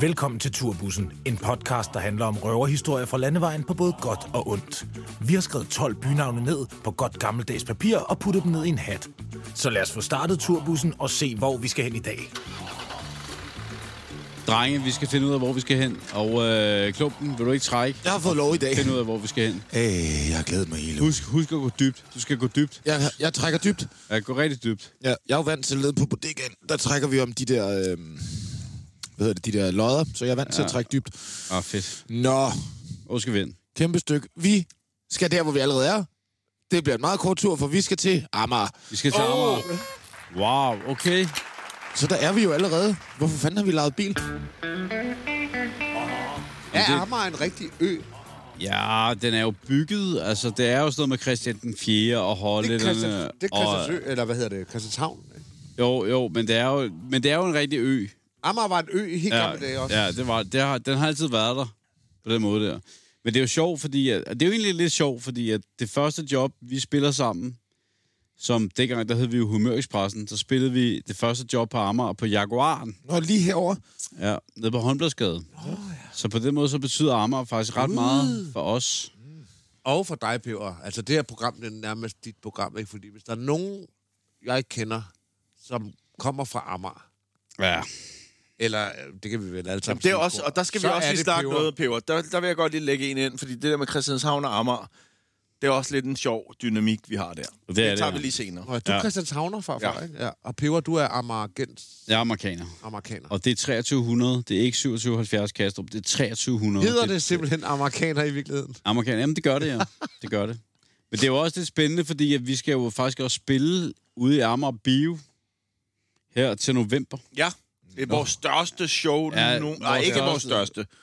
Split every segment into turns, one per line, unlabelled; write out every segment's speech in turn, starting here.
Velkommen til Turbussen, en podcast, der handler om røverhistorier fra landevejen på både godt og ondt. Vi har skrevet 12 bynavne ned på godt gammeldags papir og puttet dem ned i en hat. Så lad os få startet Turbussen og se, hvor vi skal hen i dag.
Drenge, vi skal finde ud af, hvor vi skal hen. Og øh, klumpen, vil du ikke trække?
Jeg har fået lov i dag.
Finde ud af, hvor vi skal hen.
Øh, jeg har glædet mig hele ugen.
Husk, husk at gå dybt. Du skal gå dybt.
Jeg, jeg trækker dybt.
Ja, gå rigtig dybt.
Jeg, jeg er jo vant til at lede på bodegaen. Der trækker vi om de der... Øh, hvad hedder det? De der lodder. Så jeg er vant ja. til at trække dybt.
Ah, fedt.
Nå,
Hvor skal vi hen?
kæmpe stykke. Vi skal der, hvor vi allerede er. Det bliver en meget kort tur, for vi skal til Amager.
Vi skal til oh. Amager. Wow, okay.
Så der er vi jo allerede. Hvorfor fanden har vi lejet bil?
Er
det-
Amager en rigtig ø?
Ja, den er jo bygget. Altså, det er jo sådan noget med Christian den 4. og
Det er
Hollænderne.
Christian, det er
øh, og-
Christiansø, eller hvad hedder det? Christianshavn. ikke?
Jo, jo, men det er jo, men det er jo en rigtig ø.
Amager var en ø i helt ja, gamle dage også.
ja det var, det har, den har altid været der på den måde der. Men det er jo sjovt, fordi... At, det er jo egentlig lidt sjovt, fordi at det første job, vi spiller sammen, som dengang, der hed vi jo Humørexpressen, så spillede vi det første job på Amager på Jaguaren,
Nå, lige herover.
ja, nede på Håndbladsgade. Oh, ja. Så på den måde, så betyder Amager faktisk ret meget for os.
Og for dig, Peber. Altså, det her program, det er nærmest dit program, ikke? Fordi hvis der er nogen, jeg ikke kender, som kommer fra Amager,
Ja,
eller øh, det kan vi vel alle sammen...
Jamen, det er
sige,
også,
Peber.
og der skal
Så
vi også
er
lige
det
snakke
peber.
noget, Peber. Der, der vil jeg godt lige lægge en ind, fordi det der med Christianshavn og Amager, det er også lidt en sjov dynamik, vi har der.
er det,
Det, det tager
ja.
vi lige senere.
Nå, du er
Ja.
Christianshavner, farfar,
Ja.
ikke? Ja. Og Peber, du er amerikansk
jeg er amerikaner.
amerikaner.
Og det er 2300, det er ikke 2770 Kastrup, det er 2300.
Hedder det simpelthen amerikaner i virkeligheden?
Amerikaner. Jamen, det gør det, ja. Det gør det. Men det er jo også lidt spændende, fordi at vi skal jo faktisk også spille ude i Amager Bio her til november.
Ja, det er vores største show
Ja,
ja, nu. Nej,
vores
ikke vores
største.
største,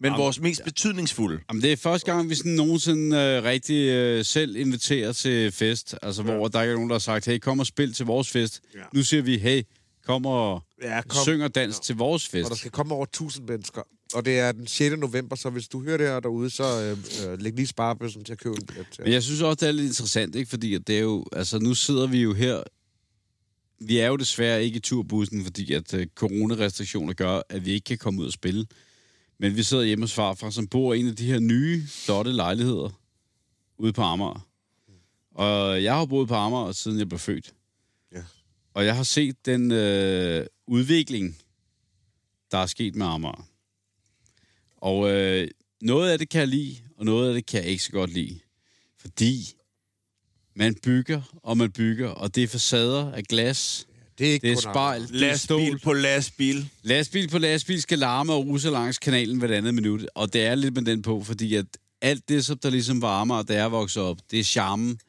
men vores mest betydningsfulde.
Jamen, det er første gang, vi sådan nogensinde øh, rigtig øh, selv inviterer til fest. Altså, ja. hvor der ikke er nogen, der har sagt, hey, kom og spil til vores fest. Ja. Nu siger vi, hey, kom og ja,
Ja,
kom.
kom.
syng og dans ja. til vores fest.
Og der skal komme over 1000 mennesker. Og det er den 6. november, så hvis du hører det her derude, så øh, øh, læg lige sparebøssen til at købe en billet.
Men
til.
jeg synes også, det er lidt interessant, ikke? Fordi at det er jo, altså nu sidder vi jo her, vi er jo desværre ikke i turbussen, fordi at øh, coronarestriktioner gør, at vi ikke kan komme ud og spille. Men vi sidder hjemme hos farfar, som bor i en af de her nye, flotte lejligheder ude på Amager. Og jeg har boet på Amager, siden jeg blev født.
Ja.
Og jeg har set den øh, udvikling, der er sket med Amager. Og øh, noget af det kan jeg lide, og noget af det kan jeg ikke så godt lide. Fordi man bygger, og man bygger, og det er facader af glas,
Det er ikke
det er
kun
spejl, det er
Lastbil
stål.
på lastbil.
Lastbil på lastbil skal larme og ruse langs kanalen hvert andet minut, og det er lidt med den på, fordi at alt det, som der ligesom varmer, og der er vokset op, det er charmen,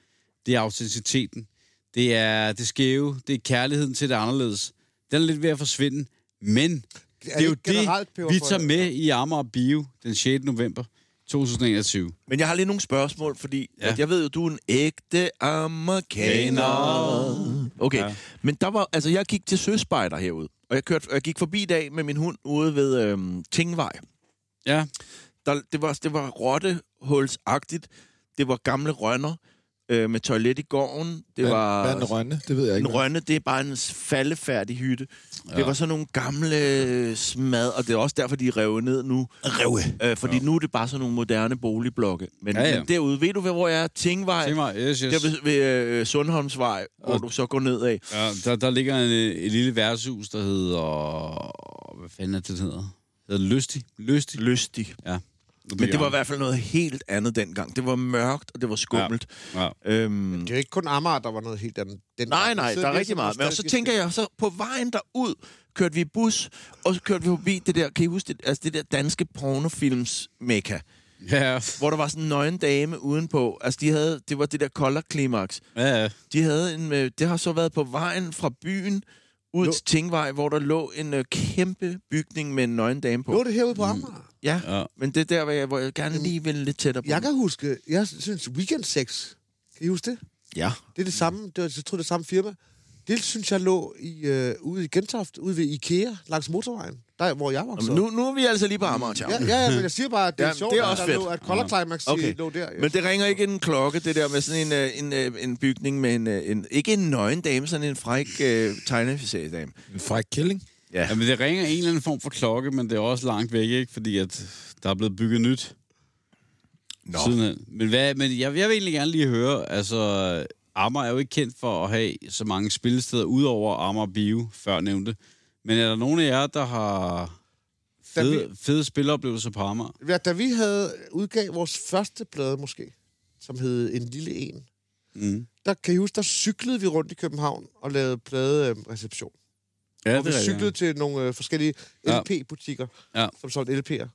det er autenticiteten, det er det skæve, det er kærligheden til det anderledes. Den er lidt ved at forsvinde, men det er,
det
jo
ikke generelt, Peber,
det, vi
for
tager
det?
med i Amager Bio den 6. november 2021.
Men jeg har lige nogle spørgsmål, fordi
Ja.
ja. at jeg ved jo, du er en ægte amerikaner. Okay,
Ja.
ja. men der var, altså jeg gik til søspejder herude, og jeg, kørte, og jeg gik forbi i dag med min hund ude ved øhm, Tingvej.
Ja,
Der, det, var, det var rottehulsagtigt, det var gamle rønner øh, med toilet i gården, det
Hvad-
var...
Hvad er den rønne? Det ved jeg
en
ikke.
rønne, det er bare en faldefærdig hytte. Ja. Det var sådan nogle gamle øh, smad, og det er også derfor, de er revet ned nu.
Røve.
Øh, fordi ja. nu er det bare sådan nogle moderne boligblokke. Men,
Ja,
ja,
ja.
ja. men derude, ved du, hvor jeg er? Tingvej.
se mig. Yes, yes.
Det er ved, ved øh, Sundholmsvej, hvor
Og-
du så går nedad.
Ja, der, der ligger en, øh, et lille værtshus, der hedder... Hvad fanden er det, den hedder? Det hedder Lystig. Lystig.
Lystig.
Ja.
Men det var i hvert fald noget helt andet dengang. Det var mørkt, og det var skummelt.
Ja.
Ja. Øhm,
Det er jo ikke kun Amager, der var noget helt andet. Den
nej, nej, der er rigtig meget. Men og så tænker jeg, så på vejen derud kørte vi i bus, og så kørte vi forbi det der, kan I huske det, altså det der danske pornofilms mekka.
Ja,
hvor der var sådan en nøgen dame udenpå. Altså, de havde, det var det der kolder klimaks.
ja, ja.
De havde en, øh, det har så været på vejen fra byen ud
Lå-
til Tingvej, hvor der lå en øh, kæmpe bygning med en nøgen dame på. Mm.
Nu er det herude på Amager.
Ja,
Ja.
ja, men det er der, hvor jeg, hvor jeg gerne lige vil lidt tættere på.
Jeg kan huske, jeg synes, Weekend Sex, kan I huske det?
Ja.
Det er det samme, det var, jeg tror, det er samme firma. Det synes jeg lå i, øh, ude i Gentofte, ude ved Ikea, langs motorvejen, der hvor jeg voksede
Nå, men
op.
nu, nu er vi altså lige på Amager, ja.
Ja, ja, ja, men jeg siger bare, at det er
Ja,
sjovt,
det er
at
også
der
fedt. Mm.
lå, at Color Climax
Okay.
okay. lå der.
Men det ringer ikke en klokke, det der med sådan en, øh, en, øh, en bygning med en, øh, en... Ikke en nøgen dame, sådan en fræk øh, tegneserie-dame.
En fræk killing.
Ja. Jamen, det ringer en eller anden form for klokke, men det er også langt væk, ikke? Fordi at der er blevet bygget nyt. Nå. Sidenhen. Men, hvad, men jeg, jeg vil egentlig gerne lige høre, altså... Amager er jo ikke kendt for at have så mange spillesteder, udover Amager Bio, før nævnte. Men er der nogen af jer, der har fede, fede spilleoplevelser på Amager?
Ja, da vi havde udgav vores første plade måske, som hed En Lille En,
Mm.
der kan I huske, der cyklede vi rundt i København og lavede pladereception.
Ja,
og vi
rigtigt,
cyklede til nogle øh, forskellige
Ja.
LP-butikker,
Ja.
ja. som solgte LP'er.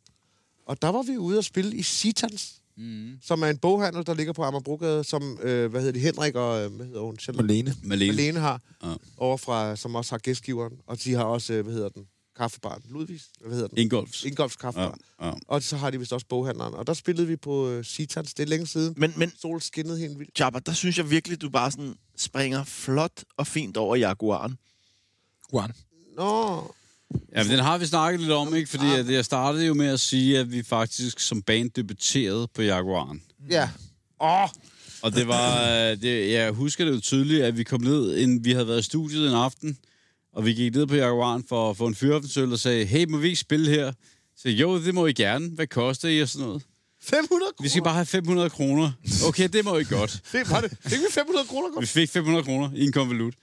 Og der var vi ude og spille i Sitans, mm. som er en boghandel, der ligger på Amagerbrogade, som, øh, hvad hedder det, Henrik og, øh, hvad hedder hun? Selv-
Malene.
Malene. Malene.
Malene har,
Ja.
ja. over fra, som også har gæstgiveren, og de har også, øh, hvad hedder den, kaffebaren, Ludvigs, hvad hedder den?
Ingolfs.
Ingolfs
Ja,
kaffebar.
ja.
Og så har de vist også boghandleren. Og der spillede vi på øh, Sitans, det er længe siden.
Men, men
Sol skinnede helt vildt.
Jabba, der synes jeg virkelig, du bare sådan springer flot og fint over Jaguaren.
Juan.
Nå,
Mm. Ja, men den har vi snakket lidt om, ikke? Fordi at jeg startede jo med at sige, at vi faktisk som band debuterede på Jaguaren.
ja. Åh,
Og det var, øh, det, jeg husker det jo tydeligt, at vi kom ned, en, vi havde været i studiet en aften, og vi gik ned på Jaguaren for at få en fyrofensøl og sagde, hey, må vi ikke spille her? Så jo, det må I gerne. Hvad koster I og sådan noget?
500 kroner.
Vi skal bare have 500 kroner. Okay, det må I godt.
Det var det. Fik vi 500 kroner
Vi
godt?
fik 500 kroner i en konvolut.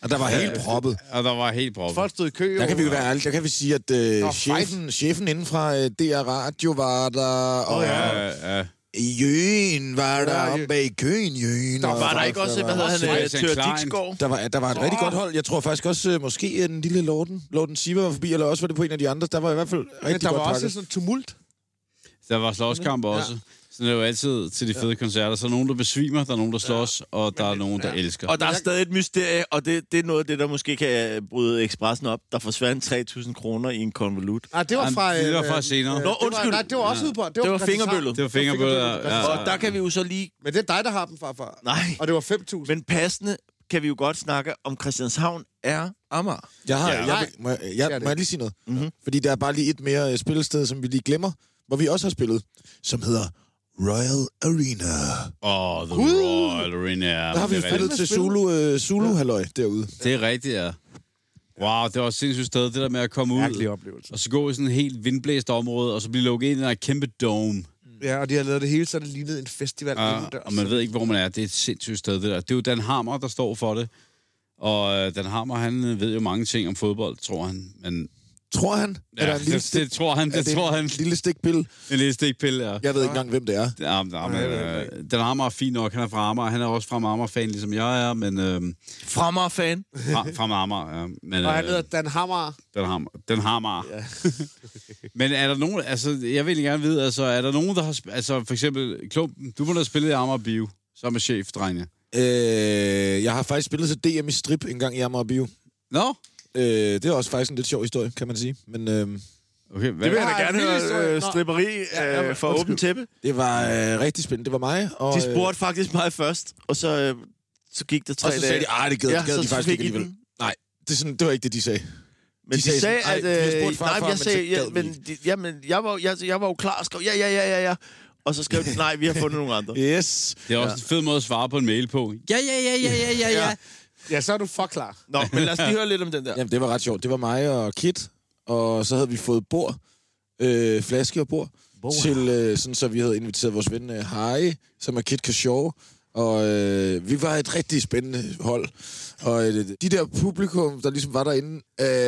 Og der var helt proppet.
Og der var helt proppet.
Folk stod i kø.
Der
og-
kan vi jo være ærlige. Der kan vi sige, at øh,
Nå,
chefen, chefen inden fra øh, DR Radio var der, og
Ja, ja.
i Jøen var der,
Ja,
og
Jøen.
bag køen Jøen.
Der var der ikke også, hvad hedder
også
han, øh,
Christian
Tør
Klein.
Dixgaard?
Der var, der var et oh. rigtig godt hold. Jeg tror faktisk også, øh, måske øh, den lille Lorden, Lorden Siver var forbi, eller også var det på en af de andre. Der var i hvert fald
Men
rigtig
der
godt
var også
pakket.
sådan en tumult.
Der var slåskamp også. Så det er jo altid til de fede koncerter. Så er der nogen, der besvimer, der er nogen, der slås, og der er nogen, der elsker.
Og der er stadig et mysterie, og det, det er noget af det, der måske kan øh, bryde ekspressen op. Der forsvandt 3.000 kroner i en konvolut.
Ah,
Nej, det var
Jamen,
fra...
det var
øh,
fra
øh,
senere.
øh,
Nå,
det var-
undskyld.
Nej, det var også ude på...
Det
på
var
Christianshavn.
fingerbøllet.
Det var fingerbøller.
Christianshavn.
Ja, ja.
Og der kan vi jo så lige...
Men det er dig, der har dem, farfar.
Nej.
Og det var 5.000.
Men passende kan vi jo godt snakke om Christianshavn er Amager.
Jeg har,
Ja.
ja,
Nej.
jeg, må, jeg, jeg,
Det er
må
det. Mhm.
jeg lige sige noget? Mm-hmm. Fordi der er bare lige et mere øh, spillested, som vi lige glemmer, hvor vi også har spillet, som hedder Royal Arena.
Åh, The Royal Arena.
Der har vi
det, er
spillet
rigtigt.
til Zulu, øh, Zulu Halløj derude.
det er rigtigt, ja. Wow, det var et sindssygt sted, det der med at komme ud,
oplevelse.
og så gå i sådan et helt vindblæst område, og så blive lukket ind i den her kæmpe dome.
Ja, og de har lavet det hele, så det lignede en festival.
Ja, Ah, og man ved ikke, hvor man er. Det er et sindssygt sted, det der. Det er jo Dan Hammer, der står for det. Og øh, Dan Hammer, han øh, ved jo mange ting om fodbold, tror han. Men
Tror han?
ja,
der en lille
det, det, tror han,
er
det,
en
tror han.
lille stikpille.
En lille stikpille, ja.
Jeg ved ikke engang, hvem det er.
Ja, men, ja, men, øh, den Amager er fin nok. Han er fra Amager. Han er også fra Amager-fan, ligesom jeg er, men... Øh,
Fremmer-fan.
fra, fra Amager, ja. Men,
Og han
øh,
hedder Dan Hammer.
den har, den har mig. Ja. men er der nogen... Altså, jeg vil egentlig gerne vide, altså, er der nogen, der har... sp- Altså, for eksempel Klumpen. Du må da spille i Amager Bio, som er chef, drenge.
Øh, jeg har faktisk spillet til DM i strip en gang i Amager Bio.
Nå?
Øh, det er også faktisk en lidt sjov historie, kan man sige. Men øh,
Okay, hvad?
Det vil jeg
Ah,
da gerne
en vild historie.
høre øh,
Nå.
stripperi øh, for åbent tæppe.
det var øh, rigtig spændende. Det var mig. Og,
De
øh,
spurgte faktisk mig først, og så, øh, så gik der tre
og så sagde
dage.
de, ah, det gad,
Ja,
ja, gad
så
de faktisk
fik
ikke
I den.
alligevel. Nej, det, er sådan, det var ikke det, de sagde.
Men de,
De
de
sagde
sagde, at...
sådan, "Ej, vi har
Øh,
spurgt
nej,
farfar,
men jeg
men
sagde...
så gad
Ja,
vi
men,
ikke."
de, jamen, jeg var, jeg, jeg var jo klar og skrev, ja, ja, ja, ja, ja. Og så skrev de, nej, vi har fundet nogle andre.
Yes.
Det er også en fed måde at svare på en mail på. Ja, ja, ja, ja, ja, ja, ja.
Ja, så er du for klar.
Nå, men lad os lige høre lidt om den der.
Jamen, det var ret sjovt. Det var mig og Kit, og så havde vi fået bord, øh, flaske og bord, til øh, sådan, så vi havde inviteret vores ven øh, Harry, som er Kit Kashaw, og øh, vi var et rigtig spændende hold. Og øh, de der publikum, der ligesom var derinde,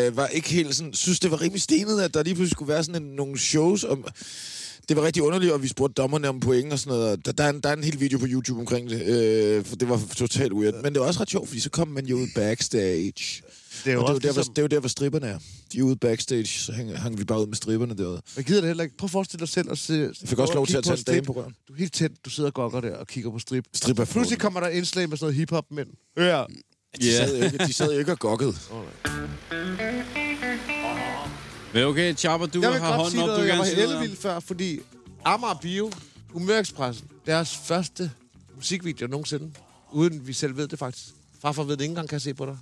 øh, var ikke helt sådan, synes det var rimelig stenet, at der lige pludselig skulle være sådan en, nogle shows om... Det var rigtig underligt, og vi spurgte dommerne om point og sådan noget. og Der, der, er, en, der er en hel video på YouTube omkring det, øh, for det var totalt weird. Men det var også ret sjovt, fordi så kom man jo ud backstage.
Det er jo
Og
også
det, er jo der,
ligesom-
hvor, det er jo der, hvor stripperne er. De er ude backstage, så hang, hang vi bare ud med stripperne derude.
Jeg gider det heller ikke. Prøv at forestille dig selv at se... Jeg
fik også lov til at tage en dame på røven.
Du er helt tæt. Du sidder og gokker der og kigger på strip.
Strip er
Pludselig kommer der et indslag med sådan noget hiphop-mænd. Ja.
De, yeah. sad jo ikke, de sad jo ikke og gokkede.
Men okay, Chopper, du
Jeg vil
har
godt
hånden
sige
op, du
noget. Jeg
gerne
var
sige noget
ellevild før, fordi Amager Bio, Humørekspressen, deres første musikvideo nogensinde, uden vi selv ved det faktisk. Farfar ved det ikke engang, kan jeg se på dig.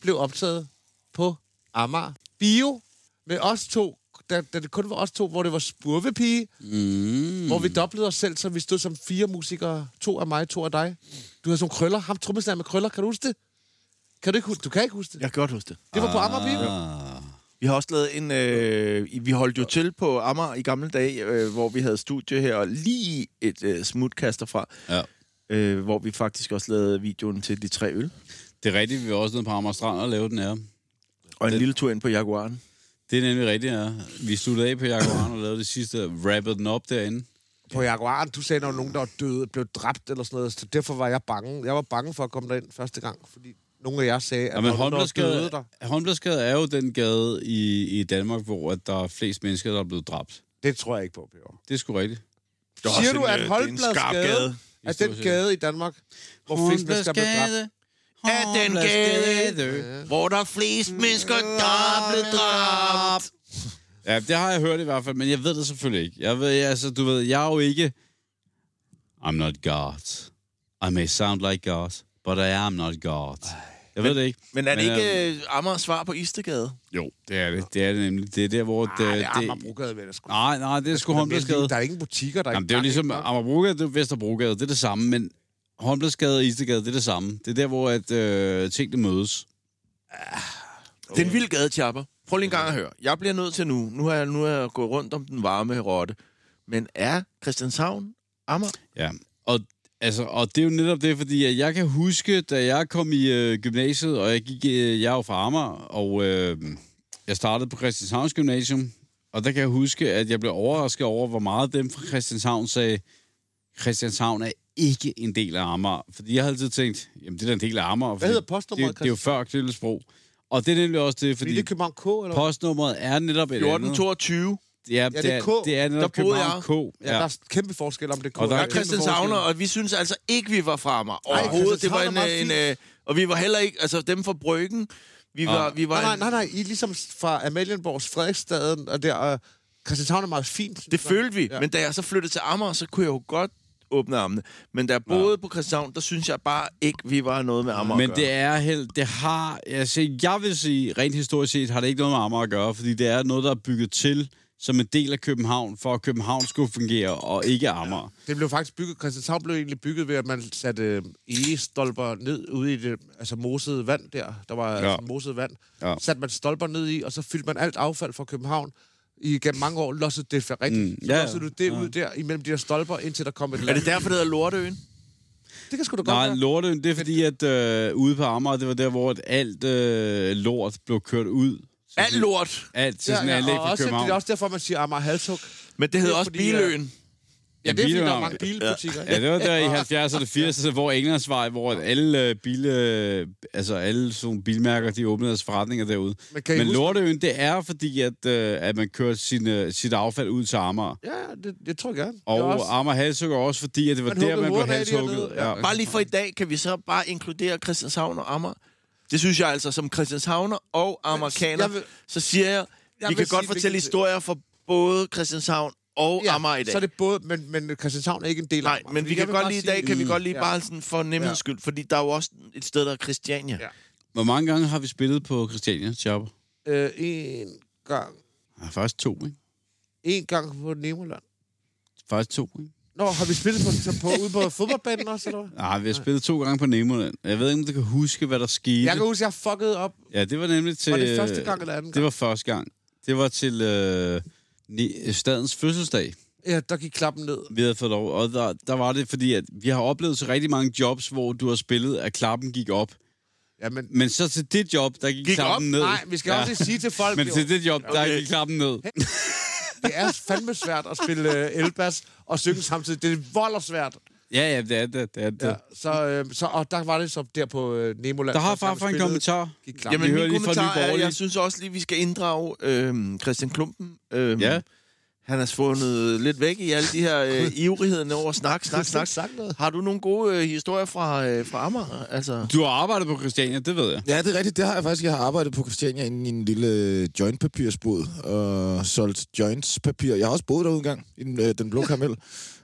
Blev optaget på Amager Bio med os to, da, da det kun var os to, hvor det var spurvepige, mm. hvor vi doblede os selv, så vi stod som fire musikere. To af mig, to af dig. Du havde sådan nogle krøller. Ham trommesnæren med krøller, kan du huske det? Kan du, ikke, hu- du kan ikke huske det?
Jeg kan godt huske det.
Ah,
Det var på Amager Bio.
Vi har også lavet en... Øh, i- vi holdt jo til på Amager i gamle dage, øh, hvor vi havde studie her, og lige et øh, smutkaster fra,
Ja.
øh, hvor vi faktisk også lavede videoen til de tre øl.
Det er rigtigt, vi var også nede på Amager Strand og lavede den her.
Og en
Det-
lille tur ind på Jaguaren.
Det er nemlig rigtigt, ja. Vi sluttede af på Jaguar og lavede det sidste, rappede den op derinde.
På Jaguaren, du sagde, der var nogen, der var døde, blev dræbt eller sådan noget, så derfor var jeg bange. Jeg var bange for at komme derind første gang, fordi nogle af jer sagde, at
Ja,
ja,
men
der var nogen, der var døde
Holmbladsgade,
der.
Holmbladsgade er jo den gade i, i Danmark, hvor at der er flest mennesker, der er blevet dræbt.
Det tror jeg ikke på, Peter.
Det er sgu rigtigt.
Det er
Siger
også
du,
en,
at
øh, det er en skarp
Holmbladsgade
gade.
er
stort
den
set.
gade i Danmark, hvor flest mennesker blev dræbt?
Af den gade, hvor der er flest mennesker, der er blevet dræbt.
Ja, det har jeg hørt i hvert fald, men jeg ved det selvfølgelig ikke. Jeg ved, altså, du ved, jeg er jo ikke... I'm not God. I may sound like God, but I am not God. Jeg ved det ikke.
Men er det
øhm,
ikke øh, Amagers svar på Istergade?
jo, det er det. Det er det nemlig. Det er der, hvor...
Nej, det er
øh, det,
Amagerbrogade, vil jeg sgu.
nej, nej, det er sgu Holmbladsgade.
Altså, Der er ingen butikker, der
Jamen, det er jo ligesom Amagerbrogade, det er Vesterbrogade, det er det samme, men Holmbladsgade og Istegade, det er det samme. Det er der, hvor at, øh, tingene mødes.
Det er en vild gade, Chapper. Prøv lige en gang at høre. Jeg bliver nødt til nu. Nu har jeg, nu har jeg gået rundt om den varme rotte. Men er Christianshavn Amager?
Ja, og, altså, og det er jo netop det, fordi at jeg kan huske, da jeg kom i øh, gymnasiet, og jeg gik, øh, jeg er jo fra Amager, og øh, jeg startede på Christianshavns Gymnasium, og der kan jeg huske, at jeg blev overrasket over, hvor meget dem fra Christianshavn sagde, Christianshavn er ikke en del af Amager. Fordi jeg havde altid tænkt, jamen det er da en del af Amager. fordi
hedder postnummeret,
Det, det er jo før Kildesbro. Og det er nemlig også det,
Fordi
fordi...
det er København K, eller hvad?
Postnummeret er netop et andet.
1422.
Ja, ja,
det er K.
Det er netop
Der boede
København K.
Ja, der er kæmpe forskel om det er K.
Og der
Jeg
er
er
kæmpe
Christianshavner, og vi synes altså ikke, vi var fra Amager.
Nej,
Overhovedet. Det var en,
Christianshavn er
øh, en,
meget
øh, og vi var heller ikke... Altså, dem fra Bryggen, vi var... Vi var
Nej, nej,
en-
nej, nej. I er ligesom fra Amalienborgs, Frederiksstaden, og der... Og Christianshavn er meget fint.
Det følte vi, ja. men da jeg så flyttede til Amager, så kunne jeg jo godt åbne armene. Men da jeg boede ja. på Christianshavn, der synes jeg bare ikke, vi var noget med Amager
Men
at
det
gøre.
er held, det har, altså jeg vil sige, rent historisk set har det ikke noget med Amager at gøre, fordi det er noget, der er bygget til som en del af København, for at København skulle fungere, og ikke Amager.
Det blev faktisk bygget... Christianshavn blev egentlig bygget ved, at man satte øh, egestolper ned ude i det altså mosede vand der. Der var ja.
Ja.
altså, moset vand. Ja.
Ja.
Satte man stolper ned i, og så fyldte man alt affald fra København. I gennem mange år lossede det for rigtigt. Mm,
ja,
ja,
ja.
lossede du det ja. ud der imellem de der stolper, indtil der kom et
Er det derfor, det hedder Lorteøen?
Det kan sgu da godt
Nej,
være.
lortøen, det er fordi, at øh, ude på Amager, det var der, hvor at alt øh, lort blev kørt ud. Så
Alt lort!
Alt til sådan
Ja,
en anlæg
ja, og
for
også, det
København.
er også derfor, man siger Amager Halshug.
Men det hedder
Det er
også
fordi, at-
Biløen.
Ja, det er fordi, der er
Biløen-
mange bilbutikker.
Ja, det var der i 70'erne og 80'erne, hvor Englandsvej, hvor at alle øh, bil, øh, altså alle sådan nogle bilmærker, de åbnede deres forretninger derude.
Men
Men,
kan I
Men
huske-
Lorteøen, det er fordi, at, øh, at man kører sin, øh, sit affald ud til Amager.
Ja, ja, det, det tror jeg gerne.
Og
Det er
også... Amager halshugger også, fordi at det var
Man
der,
huggede
man blev
hovedet af de
halshugget.
hernede, ja.
Ja.
Bare lige for i dag, kan vi så bare inkludere Christianshavn og Amager? Det synes jeg altså, som Christianshavner og amerikaner,
jeg vil-
så siger jeg,
Jeg
vi
vil
kan godt
sige, vi
fortælle
kan-
historier fra både Christianshavn og
ja,
Amager i dag.
Så er det både, men, men Christianshavn er ikke en del af
Nej,
Amager,
men
fordi
vi
jeg
kan
vil
godt
bare
lige i
sige- Mm,
dag, kan vi godt lige
Ja.
bare sådan for
Ja.
nemheds skyld, fordi der er jo også et sted, der er Christiania.
Ja.
Hvor mange gange har vi spillet på Christiania, Chopper?
Øh, en gang.
Ja, faktisk to, ikke?
En gang på Nemoland.
Faktisk to, ikke?
Nå, har vi spillet på, så på ude på fodboldbanen også, eller hvad?
Nej, vi har spillet to gange på Nemoland. Jeg ved ikke, om du kan huske, hvad der skete.
Jeg kan huske, jeg fuckede op.
Ja, det var nemlig til... øh,
Var det første gang eller anden
Det var første gang. Det var til øh, ni- stadens fødselsdag.
Ja, der gik klappen ned.
Vi havde fået lov, og der, der var det, fordi at vi har oplevet så rigtig mange jobs, hvor du har spillet, at klappen gik op.
Ja, men
Men så til det job, der gik,
gik op?
klappen ned.
Nej, vi skal også lige sige til folk,
Men
jo,
til det job, der
Okay.
gik klappen ned.
det er fandme svært at spille øh, elbas og synge samtidig. Det er volder svært.
Ja, ja, det er det. det, er det.
Ja, så, øh, så, og der var det så der på øh, Nemoland.
Der har
så sammen
farfar en
spillede,
kommentar.
Gik klappen.
Jamen,
Vi
min
hører lige fra
kommentar
Nye
er,
Borgerlige.
jeg synes også lige, vi skal inddrage øh, Christian Klumpen. Øh,
Ja.
Han er svundet lidt væk i alle de her øh, ivrigheder over snak, snak, snak.
sagt noget.
Har du nogle gode øh, historier fra, øh, fra Amager? Altså,
Du har arbejdet på Christiania, det ved jeg.
Ja, det er rigtigt. Det har jeg faktisk. Jeg har arbejdet på Christiania inde i en lille jointpapirsbod og solgt jointspapir. Jeg har også boet derude engang, i den, øh, den blå karamel.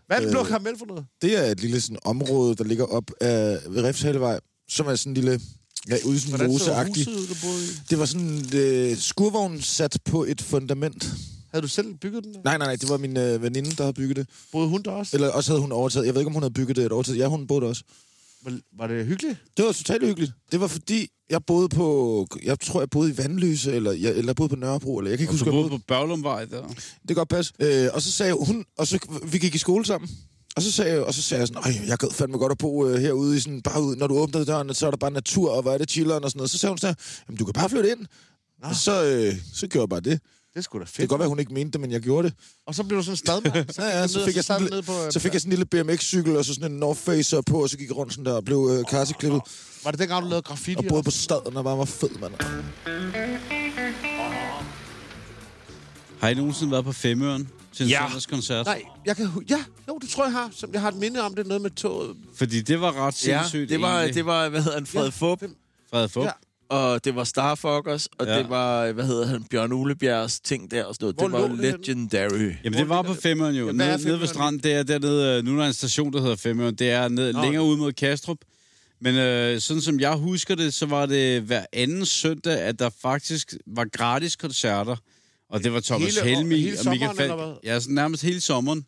Hvad er det
Øh,
blå karamel for noget?
Det er et lille sådan, område, der ligger op af ved Refshalevej, som er sådan en lille... Ja, ude i sådan en
Hvordan så
moseagtig.
huset, ud, du boede i?
Det var sådan øh, skurvogn sat på et fundament.
Havde du selv bygget den? der?
Nej, nej, nej, det var min øh, veninde, der havde bygget det.
Boede hun der også?
Eller også havde hun overtaget. Jeg ved ikke, om hun havde bygget det et overtaget. Ja, hun boede der også.
Var, var det hyggeligt?
Det var totalt hyggeligt. Det var fordi, jeg boede på... Jeg tror, jeg boede i Vandløse, eller jeg, eller jeg boede på Nørrebro, eller jeg kan ikke huske,
Du
hvor jeg
boede
boede.
på Børlumvej der.
Det kan godt passe. Øh, og så sagde hun... Og så, vi gik i skole sammen. Og så sagde, og så sagde jeg sådan, Øj, jeg gad fandme godt at bo øh, herude, i sådan, bare ud, når du åbnede døren, så er der bare natur, og hvor er det chilleren og sådan noget. Så sagde hun sådan, her, Jamen, du kan bare flytte ind. Og så, øh, så gjorde jeg bare det.
Det skulle da
Det kan
fedt.
godt være, hun ikke mente det, men jeg gjorde det.
Og så blev du sådan en stadmand.
Ja, ja, så, fik jeg sådan, en
ned på...
lille- så fik jeg sådan en lille BMX-cykel, og så sådan en North Face på, og så gik jeg rundt sådan der og blev øh, karseklippet.
Var det dengang, du lavede graffiti?
Og boede på staden, og var, var fed, mand.
Har I nogensinde været på Femøren til en
Ja.
ja. søndagskoncert?
Nej, jeg kan... hu- Ja, jo, det tror jeg har. Som jeg har et minde om det, noget med toget.
Fordi det var ret
Ja,
sindssygt.
det var,
egentlig.
det var, hvad hedder han, Fred ja. Fup,
Frederik Fugt.
Ja.
og det var Starfuckers, og
Ja.
ja. det var, hvad hedder han, Bjørn Ulebjergs ting der og sådan
Hvor
noget. Det var
lå det henne?
legendary.
Jamen, det var på Femøren jo.
Ja,
Ja,
hvad er
nede, nede ved
Femøren?
stranden, det er dernede, øh, nu er der en station, der hedder Femøren. Det er ned, længere ud mod Kastrup. Men øh, sådan som jeg husker det, så var det hver anden søndag, at der faktisk var gratis koncerter. Og det var Thomas
Hele år-
Helmi
hele
og Michael
sommeren,
Falk.
eller hvad?
Ja, sådan nærmest hele sommeren.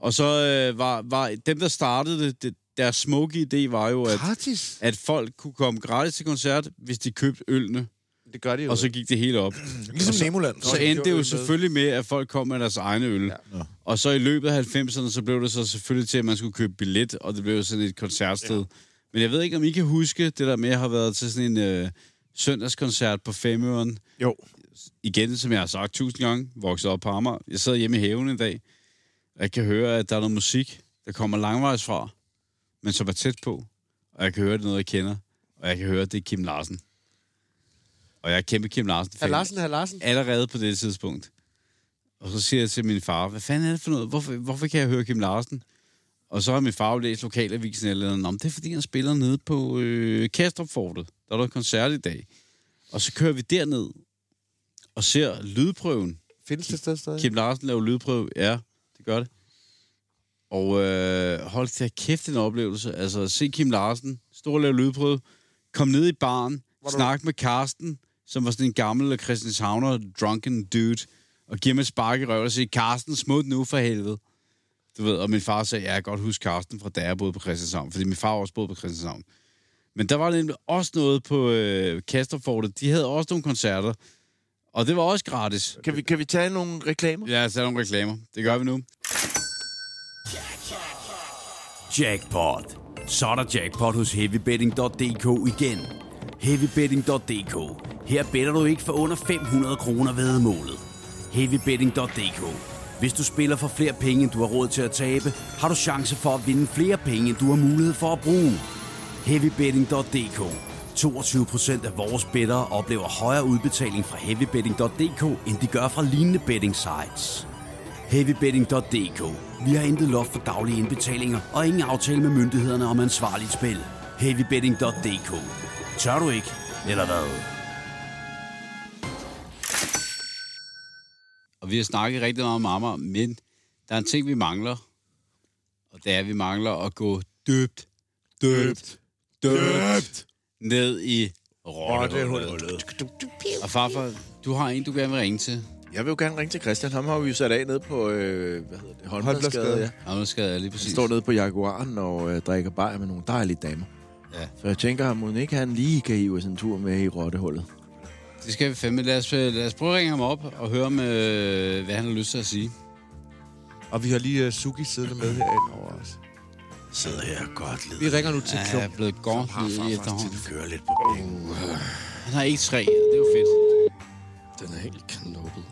Og så øh, var, var dem, der startede det, det, deres smukke idé var jo, at,
Gratis?
at folk kunne komme gratis til koncert, hvis de købte ølene.
Det gør det jo.
Og så gik det hele op.
Ligesom Nemoland.
Så
de
endte det
gjorde
jo
øl med.
selvfølgelig med, at folk kom med deres egne øl. Ja. Og så i løbet af 90'erne, så blev det så selvfølgelig til, at man skulle købe billet, og det blev sådan et koncertsted. Ja. Men jeg ved ikke, om I kan huske det der med, at jeg har været til sådan en øh, søndagskoncert på Femøren.
Jo.
Igen, som jeg har sagt tusind gange, vokset op på Amager. Jeg sad hjemme i haven en dag, og jeg kan høre, at der er noget musik, der kommer langvejs fra, men som er tæt på. Og jeg kan høre, at det er noget, jeg kender. Og jeg kan høre, at det er Kim Larsen. Og jeg er kæmpe Kim Larsen-fan
Herr Larsen, herr Larsen.
allerede på det tidspunkt. Og så siger jeg til min far, hvad fanden er det for noget? Hvorfor, hvorfor kan jeg høre Kim Larsen? Og så har min far jo læst lokalavisen eller noget. Nå, men det er fordi, han spiller nede på øh, Kastrupfortet. Der er der koncert i dag. Og så kører vi derned og ser lydprøven.
Findes det sted stadig?
Kim Larsen laver lydprøve. Ja, det gør det. Og øh, hold til at kæft det er en oplevelse. Altså, se Kim Larsen, stå og lave lydprøve, kom ned i baren, snak med Karsten, som var sådan en gammel Christianshavner drunken dude, og giver mig et spark i røven og siger, Karsten, smut nu for helvede. Du ved, og min far sagde, ja, jeg kan godt huske Karsten fra da jeg boede på Christianshavn, fordi min far også boede på Christianshavn. Men der var nemlig også noget på øh, Kasterfortet. De havde også nogle koncerter, og det var også gratis.
Kan vi, kan vi tage nogle reklamer?
Ja, så er der nogle reklamer. Det gør vi nu.
Jackpot. Så er der jackpot hos heavybetting.dk igen. Heavybetting.dk. Her better du ikke for under 500 kroner ved målet. Heavybetting.dk. Hvis du spiller for flere penge, end du har råd til at tabe, har du chance for at vinde flere penge, end du har mulighed for at bruge. Heavybetting.dk. 22% af vores bettere oplever højere udbetaling fra heavybetting.dk, end de gør fra lignende betting sites. Heavybetting.dk. Vi har intet loft for daglige indbetalinger og ingen aftale med myndighederne om ansvarligt spil. Heavybetting.dk. Tør du ikke, eller hvad?
Og vi har snakket rigtig meget om Amager, men der er en ting, vi mangler. Og det er, at vi mangler at gå dybt, dybt, dybt ned i rottehullet. Og farfar, du har en, du gerne vil ringe til.
Jeg vil jo gerne ringe til Christian. Ham har vi jo sat af nede på, øh, hvad hedder det, Holmbladsgade. Ja.
Og nu skal jeg lige præcis.
Han står nede på Jaguaren og øh, drikker bajer med nogle dejlige damer.
Ja.
Så jeg tænker, at mon ikke han lige kan hive os en tur med i rottehullet.
Det skal vi fandme. Lad os, øh, lad os prøve at ringe ham op og høre, om, øh, hvad han har lyst til at sige.
Og vi har lige uh, Suki siddende med herinde over os.
Sidder her og godt lidt.
Vi ringer nu til
Ja, jeg
Klump.
er blevet godt i efterhånden.
Kører lidt på penge.
Han har ikke tre, det er jo fedt.
Den er helt knoppet.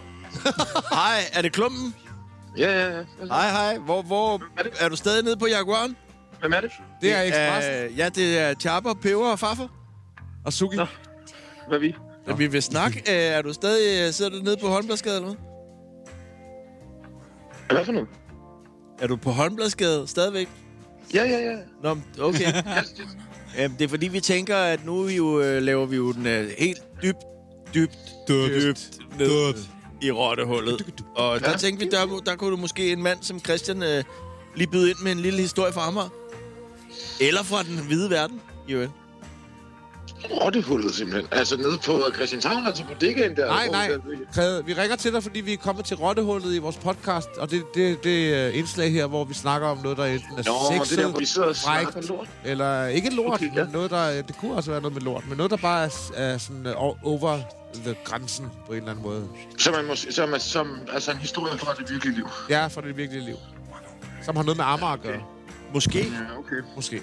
Hej, er det klumpen?
Ja, ja, ja.
Hej, hej. Hvor, hvor er du stadig nede på Jaguaren?
Hvem er det?
Det er Express.
Øh, ja, det er Chapper, Peber og Farfar.
Og Suki.
Nå. Hvad er vi?
Ja. Vi vil snakke. Øh, er du stadig, øh, sidder du nede på Holmbladsgade eller noget?
Hvad for noget?
Er du på Holmbladsgade stadigvæk?
Ja, ja, ja.
Nå, men okay.
Ja, det-
Øhm, det er fordi, vi tænker, at nu er vi jo, øh, laver vi jo den øh, helt dybt, dybt, dybt, dybt ned i rottehullet. Og der tænkte vi, der, der kunne du måske en mand som Christian øh, lige byde ind med en lille historie fra Amager. Eller fra den hvide verden, jo.
Rottehullet simpelthen. Altså nede på Christianshavn, altså på dækken der.
Nej,
hvor
nej.
der-
Kræde, vi ringer til dig, fordi vi er kommet til rottehullet i vores podcast, og det er det, det øh, indslag her, hvor vi snakker om noget, der enten er
Nå, det
sexet,
er der, hvor vi sidder og snakker
frækt,
lort.
eller ikke lort,
Okay,
okay,
ja.
ja. men noget, der, øh, det kunne også være noget med lort, men noget, der bare er, er sådan øh, o- over the grænsen på en eller anden måde.
Som, er måske, som, er, som altså en historie fra det virkelige liv.
Ja, for det virkelige liv. Som har noget med Amager at gøre,
Måske.
Ja, okay.
måske.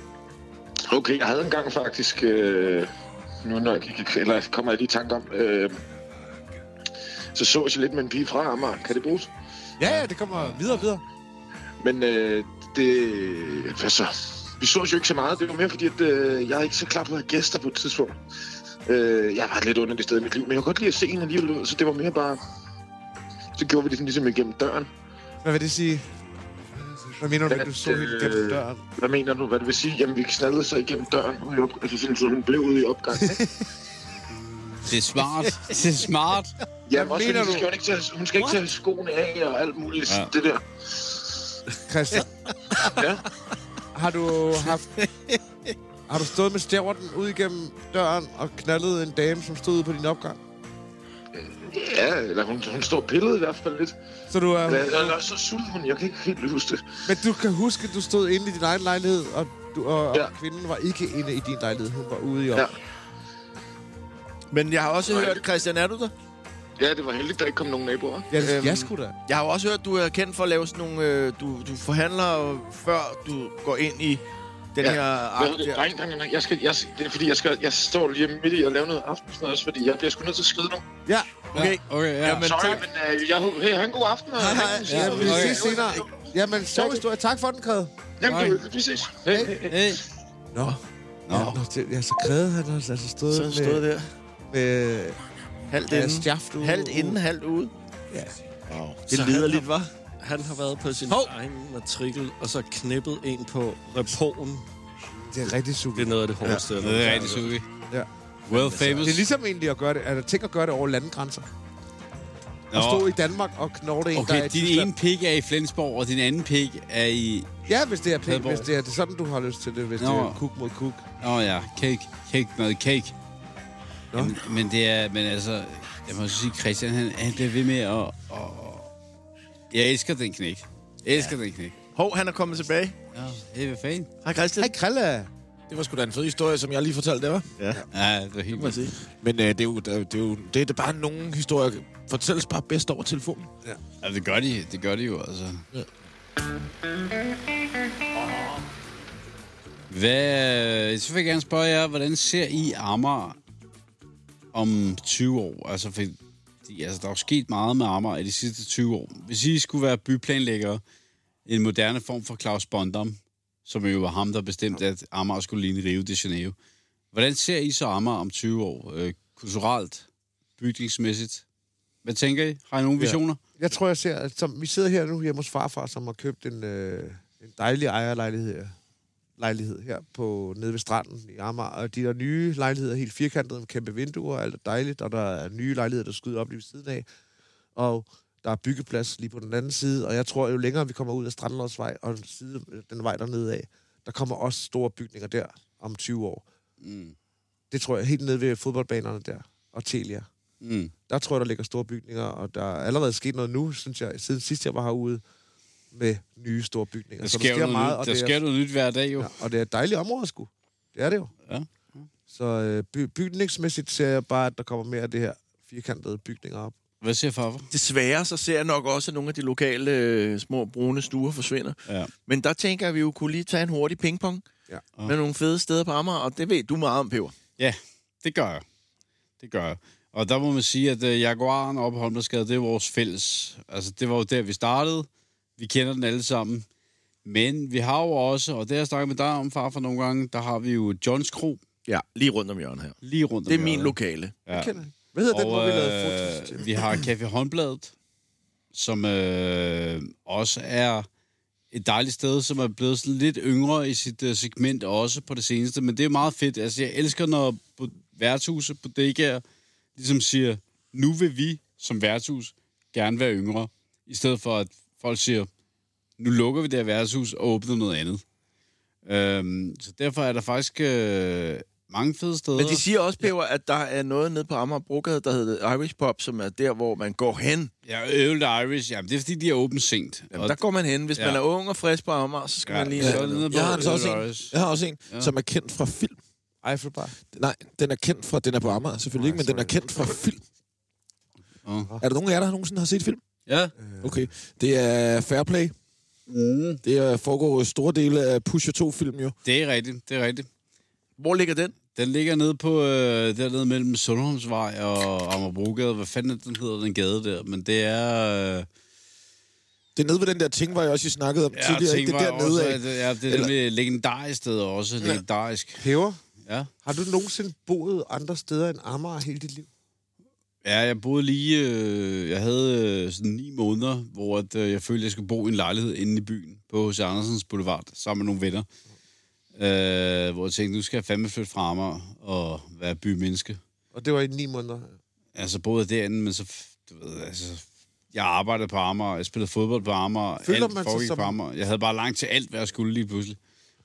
Okay, jeg havde engang faktisk... Øh, nu når jeg gik, eller kommer jeg lige i tanke om... Øh, så så jeg lidt med en pige fra Amager. Kan det bruges?
Ja, ja, det kommer videre og videre.
Men øh, det... Hvad så? Vi så jo ikke så meget. Det var mere fordi, at øh, jeg er ikke så klar på at have gæster på et tidspunkt. Øh, jeg var et lidt underligt sted i mit liv, men jeg kunne godt lide at se en alligevel ud, så det var mere bare... Så gjorde vi det sådan ligesom igennem døren.
Hvad vil det sige? Hvad mener du, at du så helt gennem døren?
Hvad mener du? Hvad det vil sige? Jamen, vi knaldede sig igennem døren. Ude i op... Altså, sådan, så hun blev ude i opgangen. ikke?
Det er smart. det er smart.
Jamen, også
mener
fordi, hun
du?
skal, jo ikke tage, hun skal ikke tage skoene af og alt muligt. Ja. Det der.
Christian,
Ja.
har du haft... Har du stået med stjerten ud igennem døren og knaldet en dame, som stod ude på din opgang?
Ja, eller hun, hun står pillet i hvert fald lidt.
Så du er...
Eller, eller så sulten hun. Jeg kan ikke helt huske det.
Men du kan huske, at du stod inde i din egen lejlighed, og, du, og, og
Ja.
kvinden var ikke inde i din lejlighed. Hun var ude i
Ja.
op.
Men jeg har også
Nej.
hørt, Christian, er du der?
Ja, det var heldigt, der ikke kom nogen naboer.
Ja, det,
Øhm,
jeg skulle da.
Jeg har jo også hørt, du er kendt for at lave sådan nogle... Øh, du, du forhandler, øh, før du går ind i den
Ja.
her
Hvad
akt.
hedder det?
der.
Nej, nej, nej, nej. Jeg skal, jeg, det er fordi, jeg, skal, jeg står lige midt i at lave noget aftensmad også, fordi jeg bliver sgu nødt til at skride nu.
Ja,
Okay.
Okay, ja.
Jamen,
Sorry,
tak.
men øh, jeg, hey, have en god aften. og-
Hej, hej.
Ses
ja
senere.
vi
okay.
ses senere. Jamen, sjov historie. Tak for den, Kred.
Jamen, du, vi ses. Hey, hey, hey.
Hey.
Nå. Nå. Ja, nå, det, ja, så Kred, han har altså stået,
Så stod
med,
der.
med
Halvt
Ja,
inden.
stjaft ude.
halvt inden, halvt ude.
Ja.
Det er liderligt, var.
Han har været på sin
Hov!
Hov. egen matrikel, og så knippet en på repoen.
Det er rigtig
Det
super.
er noget af det hårdeste. Ja,
Det er rigtig suge.
Ja.
Well famous.
Det er ligesom egentlig at gøre det, altså, tænk at gøre det over landegrænser. At stå i Danmark og knorte en, der er
Okay,
i
din
Tyskland.
ene pik er i Flensborg, og din anden pik er i...
Ja, hvis det er pænt,
Padborg.
hvis det er, det er sådan, du har lyst til det, hvis det
Nå.
er kuk mod kuk.
Åh oh, ja, cake. Cake med cake. Jamen, men det er... Men altså... Jeg må så sige, Christian, han, han bliver ved med at... at jeg elsker den knæk. Jeg elsker ja. den knæk.
Hov, han er kommet tilbage.
Ja, det er hvad fanden.
Hej, Christian.
Hej, Krille.
Det var sgu da en fed historie, som jeg lige fortalte, det var.
Ja, det var helt vildt.
Men øh, det, er jo, det, er jo, det, er jo, det er da bare nogle historier, fortælles bare bedst over telefonen.
Ja, det gør de, det gør de jo, altså. Ja. Hvad, så vil jeg gerne spørge jer, hvordan ser I Amager om 20 år? Altså, for, altså, der er jo sket meget med Amager i de sidste 20 år. Hvis I skulle være byplanlæggere, en moderne form for Claus Bondam, som jo var ham, der bestemte, at Amager skulle ligne Rio de Janeiro. Hvordan ser I så Amager om 20 år? Øh, kulturelt, bygningsmæssigt? Hvad tænker I? Har I nogle visioner?
Jeg tror, jeg ser, at som, vi sidder her nu hjemme hos farfar, som har købt en, øh, en dejlig ejerlejlighed her. lejlighed her på, nede ved stranden i Amager. Og de der nye lejligheder, er helt firkantede med kæmpe vinduer, og alt er dejligt. Og der er nye lejligheder, der skyder op lige ved siden af. Og der er byggeplads lige på den anden side. Og jeg tror, jo længere vi kommer ud af Strandlodsvej og side, den vej dernede af, der kommer også store bygninger der om 20 år.
Mm.
Det tror jeg helt nede ved fodboldbanerne der og Telia.
Mm.
Der tror jeg, der ligger store bygninger, og der er allerede sket noget nu, synes jeg, siden sidst jeg var herude, med nye store bygninger.
Der
Så
sker, noget, meget,
og
nyt, der
det
sker
er,
noget nyt hver dag, jo.
ja, og det er et dejligt område, sgu. Det er det jo.
Ja.
Så øh, by, bygningsmæssigt ser jeg bare, at der kommer mere af det her firkantede bygninger op.
Hvad siger farfar?
Desværre så ser jeg nok også, at nogle af de lokale øh, små brune stuer forsvinder.
Ja.
Men der tænker jeg, at vi jo kunne lige tage en hurtig pingpong
Ja.
med nogle fede steder på Amager, og det ved du meget om, Peber.
ja, det gør jeg. Det gør jeg. Og der må man sige, at uh, Jaguaren op på Holmersgade, det er vores fælles. Altså, det var jo der, vi startede. Vi kender den alle sammen. Men vi har jo også, og det har jeg snakket med dig om, far, for nogle gange, der har vi jo Johns Kro
Ja, lige rundt om hjørnet her.
lige rundt om
Det er min
hjørnet.
lokale.
Ja.
Kender I? Hvad hedder den, hvor vi lavede fotos
øh,
til?
vi har Café Håndbladet, som øh, også er et dejligt sted, som er blevet sådan lidt yngre i sit øh, segment også på det seneste. Men det er meget fedt. Altså, jeg elsker, når på værtshuset på DG'er ligesom siger, nu vil vi som værtshus gerne være yngre. I stedet for, at folk siger, nu lukker vi det her værtshus og åbner noget andet. Øhm, så derfor er der faktisk øh, mange fede steder.
Men de siger også, Peber, at der er noget nede på Amager Brogade, der hedder Irish Pop, som er der, hvor man går hen.
Ja, Øl Irish, jamen det er fordi, de er åbent sent.
Jamen, der går man hen. Hvis
Ja.
ja. man er ung og frisk på Amager, så skal ja, man lige...
så er
Ja,
det nede på
Jeg har altså
Øl
også en,
Irish.
jeg har også en ja. som er kendt fra film.
Eiffelbar.
Nej, den er kendt fra... Den er på Amager, selvfølgelig ikke, men den er kendt fra film.
Åh.
Er der nogen af jer, der nogensinde har set film?
Ja,
Okay. Det er Fairplay. Mm. Det er, foregår store dele af Pusher 2-film jo.
det er rigtigt, det er rigtigt.
hvor ligger den?
Den ligger nede på, øh, dernede mellem Sundholmsvej og Amagerbrogade. Hvad fanden er det, den hedder, den gade der? Men det er... Øh,
Det er nede ved den der ting, hvor jeg også I snakkede om ja, tidligere. Ikke? Det er
tænker jeg
dernede
også,
af.
at det- Ja, det er Eller... nemlig legendarisk sted også, ja. legendarisk.
Peber,
Ja.
har du nogensinde boet andre steder end Amager hele dit liv?
ja, jeg boede lige... Øh, jeg havde øh, sådan ni måneder, hvor at, øh, jeg følte, jeg skulle bo i en lejlighed inde i byen på H.C. Andersens Boulevard sammen med nogle venner. Øh, hvor jeg tænkte, nu skal jeg fandme flytte fra Amager og være bymenneske.
Og det var i ni måneder.
Altså både derinde, men så... f- Du ved, altså, jeg arbejdede på Amager, jeg spillede fodbold på Amager,
Føler
alt
man sig
foregik
som-
på Amager. Jeg havde bare langt til alt, hvad jeg skulle lige pludselig.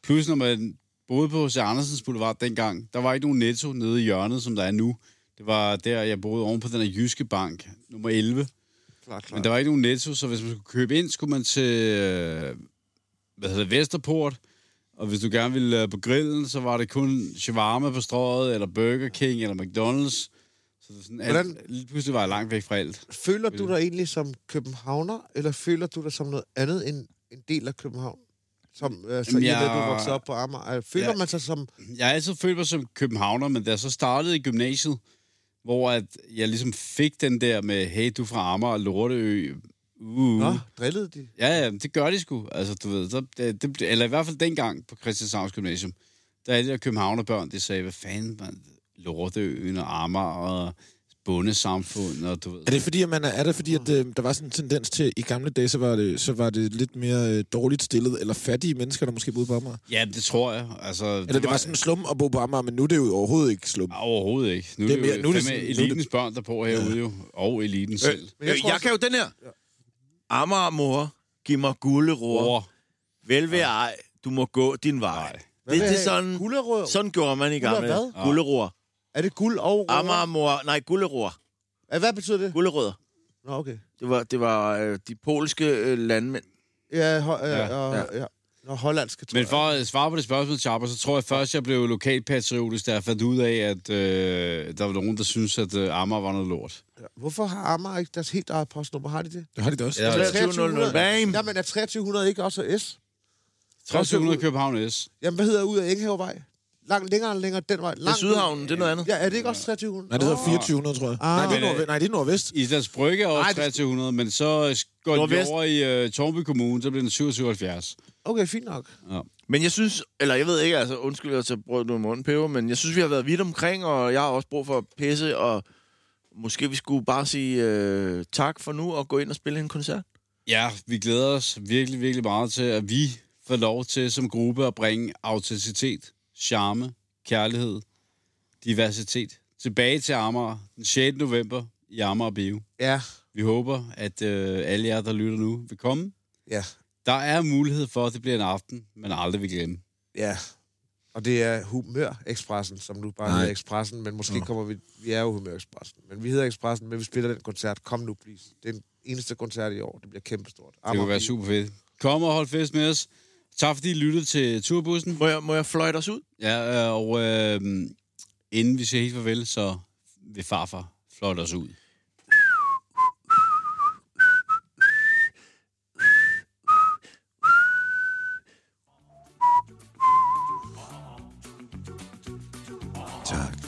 Plus, når man boede på H.C. Andersens Boulevard dengang, der var ikke nogen netto nede i hjørnet, som der er nu. Det var der, jeg boede oven på den her Jyske Bank, nummer 11.
Klart, klart.
Men der var ikke nogen netto, så hvis man skulle købe ind, skulle man til øh, hvad hedder det, Vesterport. Og hvis du gerne ville øh, på grillen, så var det kun shawarma på strøget, eller Burger King, eller McDonald's. Så det var sådan,
Hvordan-
alt, lige pludselig var jeg langt væk fra alt.
Føler du dig egentlig som københavner, eller føler du dig som noget andet end en del af København? Som, øh, så
Jamen,
i og med,
jeg-
at du voksede op på Amager. Øh, Føler
Ja.
ja. man sig som...
Jeg har altid følt mig som københavner, men da jeg så startede i gymnasiet, hvor at jeg ligesom fik den der med, hey, du er fra Amager, Lorteø, uh.
Nå, drillede de?
Ja, ja, men det gør de sgu. Altså, du ved, så, det, det, blev- eller i hvert fald dengang på Christianshavns Gymnasium, der er de der københavnerbørn, de sagde, hvad fanden, man, Lorteøen og Amager og bundesamfund, og du ved.
Er det fordi, at, man er, er det fordi, at øh, der var sådan en tendens til, i gamle dage, så var det, så var det lidt mere øh, dårligt stillet, eller fattige mennesker, der måske boede på Amager?
Ja, det tror jeg. Altså,
Eller det var sådan en slum at bo på Amager, men nu er det jo overhovedet ikke slum.
Overhovedet ikke. Nu er
Det
det,
er
mere,
mere-
jo nu er det
sådan- nu er det- Øh,
elitens børn, der bor herude jo, og eliten selv.
Men jeg
Øh, Jeg,
tror
jeg
også-
kan jo den her. Amager, mor, giv mig guleror.
Bror.
Vel ved ej, du må gå din vej. Det, det er sådan,
Gulderød?
sådan gjorde man i
Guld og
gamle dage.
hvad?
Guleror.
Er det guld og rødder?
Amager, mor, nej, guleror.
Ja, Hvad betyder det?
Gulerødder.
Nå, okay.
Det var, det var øh, de polske øh, landmænd.
Ja, ho- ja,
Ja.
ja. ja. ja. Nå, hollandske, tror
Men for at svare på det spørgsmål, Chapper, så tror jeg først, jeg blev lokalpatriotisk, da jeg fandt ud af, at øh, der var nogen, der syntes, at øh, Amager var noget lort.
jeg. Hvorfor har Amager ikke deres helt eget postnummer? Har de det?
Det har de da også.
Ja,
2300. Bam!
Ja, men er 2300 ikke også S?
1300 København S.
Jamen, hvad hedder ud af Enghavevej? Langt længere end længere den vej.
Det er
Langt
Sydhavnen, det er noget andet.
Ja, er det ikke også 2300?
Nej, det hedder 2400, tror jeg. Nej, det er nordvest. Nej, det er nordvest.
Islands Brygge er også 2300, men så går
Nordvest.
de over i uh, Tornby Kommune, så bliver den 77.
Okay, fint nok.
Men jeg synes, eller jeg ved ikke, altså undskyld, jeg tager brød nu i munden, Peber, men jeg synes, vi har været vidt omkring, og jeg har også brug for at pisse, og måske vi skulle bare sige øh, tak for nu, og gå ind og spille en koncert.
Ja, vi glæder os virkelig, virkelig meget til, at vi får lov til som gruppe at bringe autenticitet, charme, kærlighed, diversitet tilbage til Amager den 6. november i Amager Bio.
Ja,
Vi håber, at øh, alle jer, der lytter nu, vil komme.
ja,
Der er mulighed for, at det bliver en aften, man aldrig vil glemme.
ja. Og det er Humør-Expressen, som nu bare
Nej.
hedder Expressen, men måske kommer vi... Vi er jo Humør-Expressen, men vi hedder Expressen, men vi spiller den koncert. Kom nu, please. Det er den eneste koncert i år. Det bliver kæmpestort.
Det
Amager
kunne være
Bio.
super fedt. Kom og hold fest med os. Tak fordi I lyttede til turbussen.
Må jeg, må jeg fløjte os ud?
Ja, øh, og øh, inden vi siger helt farvel, så vil farfar flot os ud.
Tak.